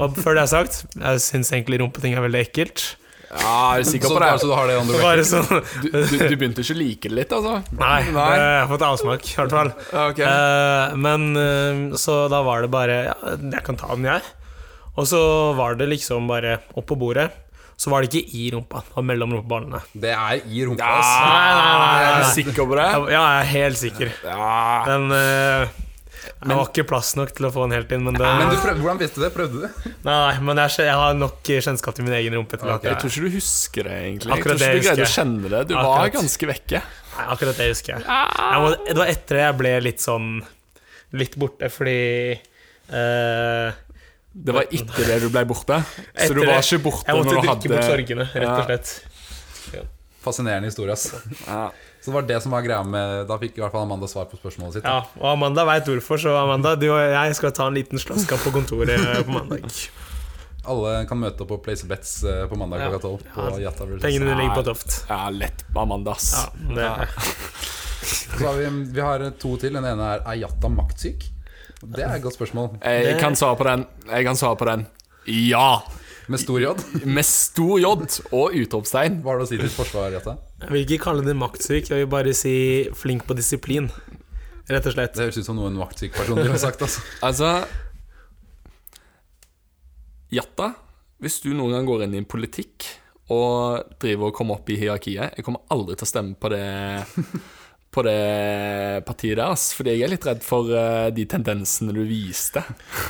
Speaker 2: Og før det er sagt, jeg syns egentlig rumpeting er veldig ekkelt.
Speaker 1: Ja, jeg er
Speaker 3: Så
Speaker 1: sikker på
Speaker 3: bare
Speaker 1: det. Altså,
Speaker 3: så du har det
Speaker 2: Så
Speaker 3: andre
Speaker 2: bare sånn
Speaker 1: Du, du, du begynte ikke å like det litt, altså?
Speaker 2: Nei, det- jeg har fått avsmak, i hvert fall.
Speaker 1: Ok.
Speaker 2: Eh, men eh, så da var det bare ja, Jeg kan ta den, jeg. Og så var det liksom bare opp på bordet. Så var det ikke i rumpa, det var mellom rumpeballene.
Speaker 3: Det er i rumpa.
Speaker 1: Ja,
Speaker 3: ass.
Speaker 1: er du sikker på det?
Speaker 2: Jeg, ja, jeg er helt sikker.
Speaker 1: Ja.
Speaker 2: Den eh, Jeg var ikke plass nok til å få den helt inn, men det
Speaker 3: Men du prøv, hvordan visste du det? Prøvde du det?
Speaker 2: Nei, men jeg, skjø- jeg har nok kjennskap til min egen rumpe til at
Speaker 1: Jeg tror
Speaker 2: jeg,
Speaker 1: ikke du husker det, egentlig.
Speaker 2: Akkurat
Speaker 1: jeg tror
Speaker 2: det
Speaker 1: ikke du greide å
Speaker 2: husker
Speaker 1: kjenne det. Du var
Speaker 2: Akkurat.
Speaker 1: ganske vekke.
Speaker 2: Nei, akkurat det husker jeg. jeg må, det var etter det jeg ble litt sånn Litt borte, fordi eh,
Speaker 1: Det var etter det du ble borte. Så
Speaker 2: etter
Speaker 1: du var
Speaker 2: det-
Speaker 1: ikke borte
Speaker 2: Jeg
Speaker 1: når
Speaker 2: måtte
Speaker 1: du
Speaker 2: drikke
Speaker 1: hadde
Speaker 2: bort sorgene, rett og slett.
Speaker 3: Fascinerende historie, ass. Så
Speaker 1: Ja.
Speaker 3: det var det som var greia med Da fikk i hvert fall Amanda svar på spørsmålet sitt.
Speaker 2: Ja, og Amanda veit hvorfor, så Amanda, du og jeg skal ta en liten slåsskamp på kontoret på mandag.
Speaker 3: Alle kan møte opp og place bets eh, på mandag
Speaker 2: Ja.
Speaker 3: klokka tolv på
Speaker 2: Ja,
Speaker 3: Jata versus.
Speaker 2: Pengene dine ligger på Toft.
Speaker 1: Ja, lett Amanda, ass.
Speaker 2: Ja, det,
Speaker 3: Så har vi, vi har to til. Den ene er Er Jata maktsyk? Det er et godt spørsmål.
Speaker 1: Jeg
Speaker 2: Det-
Speaker 1: kan svare på den. Jeg kan svare på den. Ja!
Speaker 3: Med stor J.
Speaker 1: Med stor J og utropstegn.
Speaker 3: Hva har du å si til forsvar, Jata?
Speaker 2: jeg vil ikke kalle det maktsyk, jeg vil bare si flink på disiplin. Rett og slett.
Speaker 3: Det høres ut som noe en maktsyk person ville sagt. Altså.
Speaker 1: Altså Jatta, hvis du noen gang går inn i politikk og driver og kommer opp i hierarkiet Jeg kommer aldri til å stemme på det, på det partiet deres, fordi jeg er litt redd for eh, de tendensene du viste.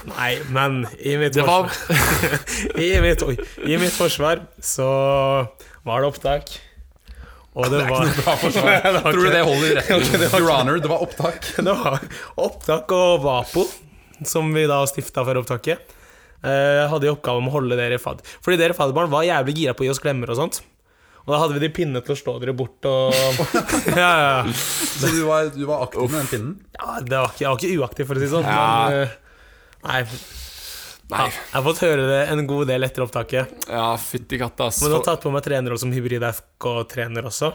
Speaker 2: Nei, men i mitt
Speaker 1: Det var
Speaker 2: forsvar, i mitt, oi, i mitt forsvar så var det opptak. Og det var Det var
Speaker 3: Tror du
Speaker 2: ikke-
Speaker 3: det holder i retten?
Speaker 2: det var
Speaker 3: Your Honor, det var opptak.
Speaker 2: Det var opptak og Vapo, som vi da stifta før opptaket. Eh, hadde i oppgave om å holde dere i fadd. Fordi dere fadderbarn var jævlig gira på å gi oss klemmer og sånt. Og da hadde vi de pinne til å slå dere bort og ja, ja, ja.
Speaker 3: Så du var, du var aktiv med den pinnen?
Speaker 2: ja, det var ikke, Jeg var ikke uaktiv, for å si det sånn.
Speaker 1: Ja.
Speaker 2: Men, eh, nei.
Speaker 1: Nei.
Speaker 2: Jeg har fått høre det en god del etter opptaket.
Speaker 1: Ja, fytti katta, ass.
Speaker 2: Men nå har jeg
Speaker 1: For,
Speaker 2: tatt på meg trenerrolle som hybrid-FK-trener også.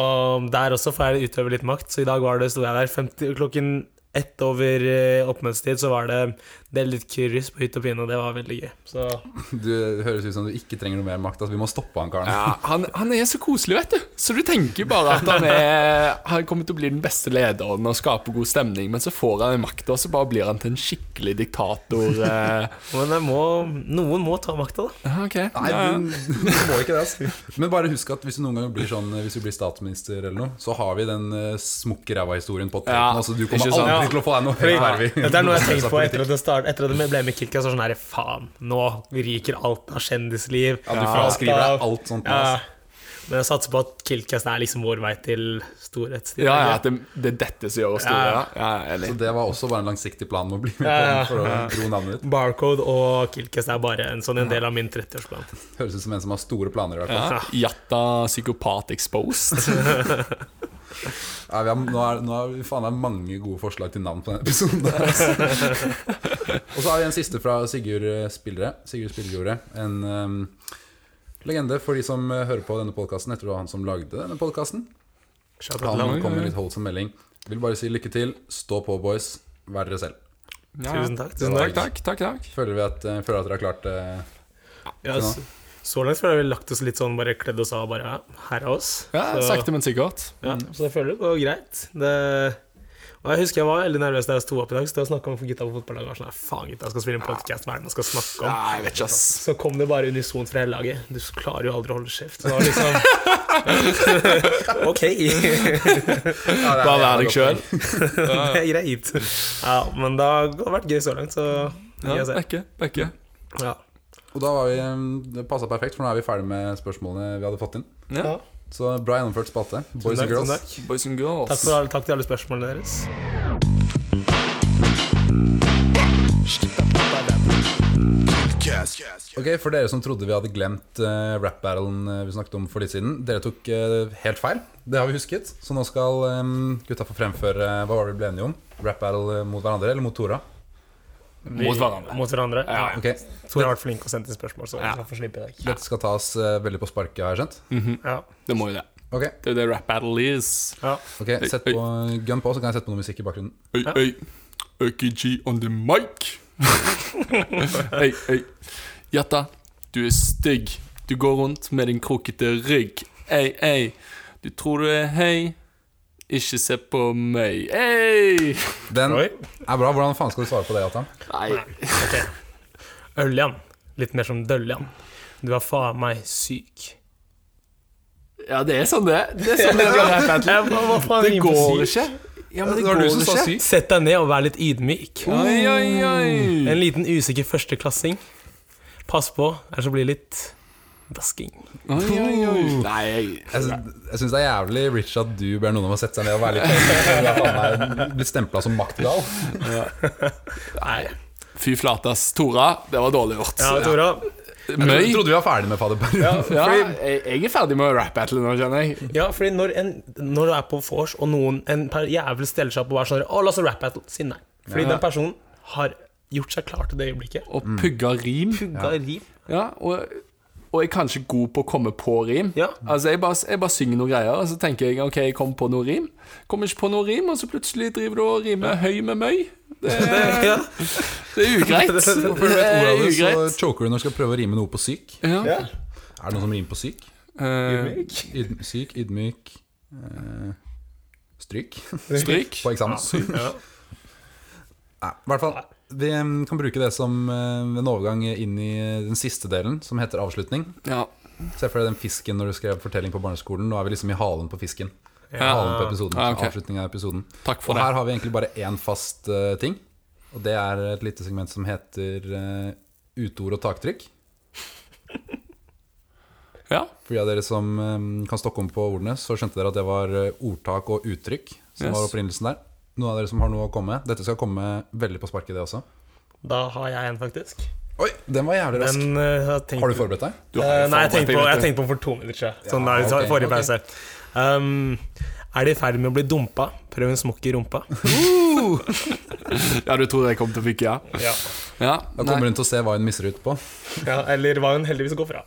Speaker 2: Og der også får jeg utøve litt makt, så i dag var det, sto jeg der 50, klokken ett over eh, oppmøtestid, så var det delt litt kurris på hytt og pine, og det var veldig gøy. Så
Speaker 3: Du høres ut som du ikke trenger noe mer makt. Altså, vi må stoppe han karen.
Speaker 1: ja, han, han er så koselig, vet du. Så du tenker bare at han er Han kommer til å bli den beste lederen og skape god stemning, men så får han makta, og så bare blir han til en skikkelig diktator. Eh.
Speaker 2: Men jeg må, noen må ta makta, da.
Speaker 1: Ja, ok.
Speaker 3: Nei,
Speaker 1: Ja, ja.
Speaker 3: du, du må ikke det. Altså. Men bare husk at hvis du noen gang blir sånn Hvis du blir statsminister eller noe, så har vi den uh, smukkeræva-historien på
Speaker 1: Ja,
Speaker 3: tapen. altså, du kommer
Speaker 1: ikke sant?
Speaker 3: aldri
Speaker 2: Ja.
Speaker 3: til å få deg noe høyt verv i-
Speaker 2: Dette er noe jeg har tenkt på etter at det, start, etter at det ble med Kilka. Så sånn her, faen, nå ryker alt av kjendisliv.
Speaker 3: Ja, du fraskriver deg alt sånt. nå,
Speaker 2: Ja.
Speaker 3: altså.
Speaker 2: Men jeg satser på at Kilkas er liksom vår vei til storhetstid.
Speaker 1: Ja, ja,
Speaker 2: ikke?
Speaker 1: at det, det er dette som gjør oss store. Ja, ja, jeg er enig.
Speaker 3: Så det var også bare en langsiktig plan med å bli med på
Speaker 2: Ja, ja.
Speaker 3: den for å gro navnet ditt.
Speaker 2: Barcode og Kilkas er bare en sånn en del av min 30-årsplan.
Speaker 3: Høres ut som en som har store planer. i hvert fall
Speaker 1: Ja. Jatta psykopat exposed.
Speaker 3: Nei, vi har, nå er, nå er, faen, det er mange gode forslag til navn på denne episoden. her, altså. Og så har vi en siste fra Sigurd eh, Spillere. Sigurd Spillerjordet. En ehm, legende for de som eh, hører på denne podkasten etter det var han som lagde denne podkasten.
Speaker 2: Shout out til
Speaker 3: Han
Speaker 2: han.
Speaker 3: kom med litt holdsom melding. Vil bare si lykke til. Stå på, boys. Vær dere selv.
Speaker 1: Ja.
Speaker 2: Tusen takk. Tusen
Speaker 1: Takk,
Speaker 2: takk.
Speaker 1: takk, takk, takk.
Speaker 3: Føler vi at, eh, føler at dere har klart eh,
Speaker 2: Ja, så, så langt føler jeg vi har lagt oss litt sånn, bare kledd oss av og bare ja, her er oss.
Speaker 1: Ja,
Speaker 2: så,
Speaker 1: Sakte, men sikkert.
Speaker 2: ja, så jeg føler det går greit. Det, og jeg husker jeg var veldig nervøs da jeg sto opp i dag, så da snakka om gutta på fotballaget. og jeg var Sånn, «Nei, faen, gutta, jeg skal spille en podkast, hva er det man skal snakke om?
Speaker 1: Nei, jeg vet ikke, ass.
Speaker 2: Så kom det bare unisont fra hele laget. Du klarer jo aldri å holde kjeft. Så Det var liksom Ok, det
Speaker 3: ja, det er-
Speaker 1: Bare vær
Speaker 3: det er
Speaker 1: deg
Speaker 3: godt.
Speaker 1: sjøl.
Speaker 2: er greit. Ja, men det har det har vært gøy så langt, så
Speaker 1: Ja,
Speaker 2: jeg ser.
Speaker 1: Bekke. Bekke.
Speaker 2: Ja.
Speaker 3: Og da var vi, eh, det passa perfekt, for nå er vi ferdig med spørsmålene vi hadde fått inn.
Speaker 1: Ja.
Speaker 3: Så bra gjennomført spalte. Boys
Speaker 2: Tusen takk, tusen
Speaker 3: and girls.
Speaker 2: takk.
Speaker 1: Boys and
Speaker 2: Takk,
Speaker 1: girls.
Speaker 2: for, alle- takk til alle spørsmålene deres.
Speaker 3: Ok, For dere som trodde vi hadde glemt eh, rap-battlen eh, vi snakket om for litt siden. Dere tok eh, helt feil. Det har vi husket. Så nå skal eh, gutta få fremføre eh, hva var det vi ble enige om. Rap-battle eh, mot hverandre eller mot Tora?
Speaker 1: Mot hverandre.
Speaker 2: Mot hverandre.
Speaker 1: Ja.
Speaker 3: Ok,
Speaker 2: Tor har vært flink og sendt inn spørsmål, så
Speaker 1: Ja.
Speaker 2: han får slippe i dag.
Speaker 3: Dette skal tas eh, veldig på sparket, har jeg skjønt.
Speaker 2: Ja.
Speaker 1: Det må jo det.
Speaker 3: Ok,
Speaker 1: Det er det rap battle is.
Speaker 2: Ja.
Speaker 3: ok, sett på eh, Gun på, så kan jeg sette på noe musikk i bakgrunnen.
Speaker 1: Øy,
Speaker 2: Ja.
Speaker 1: øy. Øky G on the mic. øy, øy. Jatta, du er stygg. Du går rundt med din krokete rygg. Ei, ei. Du tror du er høy. Ikke se på meg. Ei!
Speaker 3: Den
Speaker 2: Oi.
Speaker 3: er bra. Hvordan faen skal du svare på det, Jatan?
Speaker 1: Nei.
Speaker 2: Øljan. Litt mer som Døljan. Du er faen meg syk.
Speaker 1: Ja, det er sånn det er. Det er sånn det skal være.
Speaker 2: Ja, hva, hva faen
Speaker 1: Det
Speaker 2: rimer på
Speaker 1: går
Speaker 2: syk?
Speaker 1: ikke. Ja, men det
Speaker 3: var
Speaker 1: går
Speaker 3: du som sa
Speaker 1: ikke.
Speaker 3: syk.
Speaker 2: Sett deg ned og vær litt ydmyk.
Speaker 1: Oi, oi, oi.
Speaker 2: En liten usikker førsteklassing. Pass på, ellers så blir det litt dasking.
Speaker 1: Oi, oi, oi. Nei.
Speaker 3: Jeg, sy- jeg syns det er jævlig rich at du ber noen om å sette seg ned og være litt Du er faen meg blitt stempla som maktgal.
Speaker 2: Nei.
Speaker 1: Fy flate, ass. Tora, det var dårlig gjort.
Speaker 2: Ja, Tora.
Speaker 3: Jeg
Speaker 1: Møy.
Speaker 3: trodde vi var ferdig med fadderperioden.
Speaker 1: Ja, jeg, jeg er ferdig med rap battle nå, kjenner jeg.
Speaker 2: Ja, fordi når, en, når du er på vors, og noen en per jævel steller seg opp og er sånn Å, la oss rappe battle. Si nei. Fordi den personen har gjort seg klar til det øyeblikket.
Speaker 1: Og pugga rim.
Speaker 2: Pugga rim.
Speaker 1: Ja, og, og jeg er kanskje god på å komme på rim.
Speaker 2: Ja.
Speaker 1: Altså, jeg bare, jeg bare synger noen greier, og så tenker jeg OK, jeg kom på noe rim. Kommer ikke på noe rim, og så plutselig driver du og rimer høy med møy. Det,
Speaker 2: Ja.
Speaker 1: det er ugreit.
Speaker 3: Hvorfor du
Speaker 1: Det
Speaker 3: vet
Speaker 1: er
Speaker 3: ordet av det,
Speaker 1: ugreit.
Speaker 3: så choker du når du skal prøve å rime noe på syk.
Speaker 1: Ja.
Speaker 3: Er det noe som rimer på syk?
Speaker 1: Eh,
Speaker 3: Ydm- syk, ydmyk eh, Stryk
Speaker 1: stryk.
Speaker 3: på eksamen.
Speaker 2: Ja.
Speaker 3: Nei, I hvert fall, vi em, kan bruke det som eh, en overgang inn i eh, den siste delen, som heter avslutning.
Speaker 1: Ja.
Speaker 3: Se for deg den fisken når du skrev fortelling på barneskolen. Nå er vi liksom i halen på fisken. Halen på episoden,
Speaker 1: Ja, ok.
Speaker 3: Avslutningen av episoden.
Speaker 1: Takk
Speaker 3: Og
Speaker 1: for det.
Speaker 3: her har vi egentlig bare én fast eh, ting. Og det er et lite segment som heter eh, uteord og taktrykk.
Speaker 1: Ja.
Speaker 3: For de av dere som eh, kan stokke om på ordene, så skjønte dere at det var eh, ordtak og uttrykk som
Speaker 1: Yes.
Speaker 3: var opprinnelsen der. Noen av dere som har noe å komme med. Dette skal komme veldig på sparket, det også.
Speaker 2: Da har jeg en, faktisk.
Speaker 3: Oi, den var jævlig rask.
Speaker 2: Den eh, har tenkt
Speaker 3: Har du forberedt deg?
Speaker 1: Du har jo
Speaker 2: Eh, nei, jeg
Speaker 1: forberedt
Speaker 2: tenkte, på,
Speaker 1: deg,
Speaker 2: jeg
Speaker 1: vet
Speaker 2: tenkte på den for to minutter siden. Sånn da,
Speaker 3: ok,
Speaker 2: forrige
Speaker 3: ok.
Speaker 2: pause. Um, er de i ferd med å bli dumpa? Prøv en smokk i rumpa.
Speaker 1: du. Ja, du tror jeg kom til å fikk ja?
Speaker 2: Ja.
Speaker 1: Ja. nei.
Speaker 3: Da kommer hun til å se hva hun misser ut på.
Speaker 2: Eller hva hun heldigvis går fra.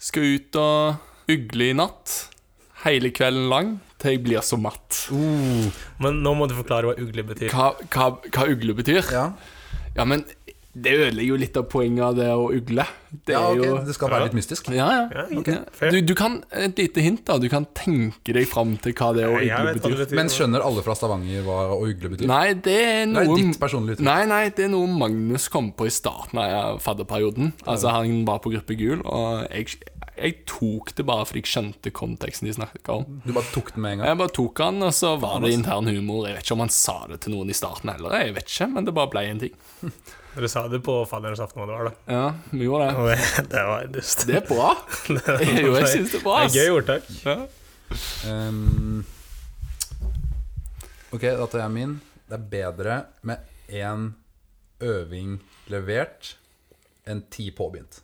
Speaker 1: Skal ut og ugle i natt. Hele kvelden lang til jeg blir så matt.
Speaker 3: Oh.
Speaker 2: Men nå må du forklare hva ugle betyr.
Speaker 1: Hva, hva, hva ugle betyr?
Speaker 3: Ja,
Speaker 1: Ja, men det ødelegger jo litt av poenget av det å ugle. Det
Speaker 3: ja
Speaker 1: er
Speaker 3: ok,
Speaker 1: jo
Speaker 3: det skal være litt mystisk.
Speaker 1: Ja, ja.
Speaker 2: Ja,
Speaker 1: Ja.
Speaker 2: Fair.
Speaker 1: Du, du kan, Et lite hint, da. Du kan tenke deg fram til hva det å ugle
Speaker 2: Jeg vet hva det
Speaker 1: betyr.
Speaker 2: betyr.
Speaker 3: Men skjønner alle fra Stavanger hva å ugle betyr?
Speaker 1: Nei, det er
Speaker 3: Det er
Speaker 1: noe
Speaker 3: ditt personlige uttrykk.
Speaker 1: Nei, nei, det er noe Magnus kom på i starten av fadderperioden. Altså, Han var på Gruppe Gul, og jeg, jeg tok det bare fordi jeg skjønte konteksten de snakka om.
Speaker 3: Du bare tok den med en gang.
Speaker 1: Jeg bare tok han, og så var det intern humor. Jeg vet ikke om han sa det til noen i starten heller, jeg vet ikke, men det bare ble en ting.
Speaker 2: Dere sa det på fadderens aften hva det var, da.
Speaker 1: Ja, vi gjorde det.
Speaker 2: Og det- Det var dust.
Speaker 1: Det er bra. Jo, jeg syns det er bra.
Speaker 2: Det
Speaker 1: ass.
Speaker 2: er gøy ordtak.
Speaker 3: Um, ok, da tar jeg min. Det er bedre med én øving levert enn ti påbegynt.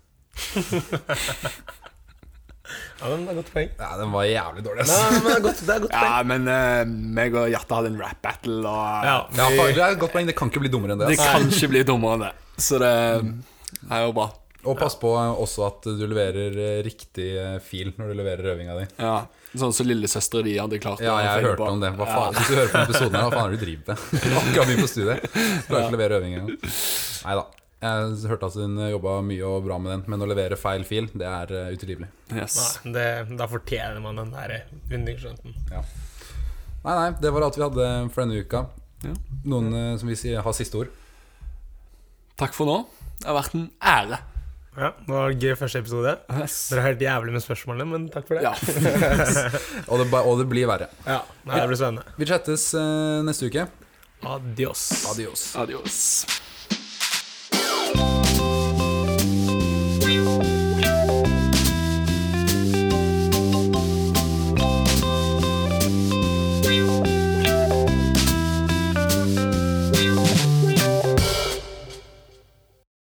Speaker 2: Ja, men det er godt poeng.
Speaker 3: Nei, den var jævlig dårlig,
Speaker 2: Ja,
Speaker 3: ass.
Speaker 2: men det er godt, det er godt poeng.
Speaker 1: Ja, men eh, meg og Hjerte hadde en rap-battle, og
Speaker 2: Ja,
Speaker 3: Ja,
Speaker 2: vi-
Speaker 3: for det er et godt poeng. Det kan ikke bli dummere enn det.
Speaker 4: Det
Speaker 3: ass.
Speaker 4: kan ikke bli dummere enn det. Så det er jo bra.
Speaker 3: Og pass på også at du leverer eh, riktig eh, fil når du leverer øvinga di.
Speaker 4: Ja, Sånn som lillesøstera di hadde klart.
Speaker 3: Ja, jeg hørte om det. Hva faen, Hvis du hører på denne episoden, her, hva faen er det du driver med? Akkurat begynt på studiet. Klarer ikke å levere øving engang. Nei da. Jeg hørte at hun jobba mye og bra med den, men å levere feil fil, det er eh, utilgivelig.
Speaker 4: Yes.
Speaker 2: Nei, det, da fortjener man den der underskjønten.
Speaker 3: Nei, nei, det var alt vi hadde for denne uka.
Speaker 4: Ja.
Speaker 3: Noen eh, som vil si, har siste ord?
Speaker 4: Takk for nå. Det har vært en ære.
Speaker 2: Ja, det var en gøy første episode. Dere har helt jævlig med spørsmålene, men takk for det.
Speaker 4: Ja.
Speaker 3: Og det, ba- og det blir verre.
Speaker 2: Ja, nei, det blir spennende.
Speaker 3: Vi chattes eh, neste uke.
Speaker 2: Adios.
Speaker 3: Adios.
Speaker 4: Adios.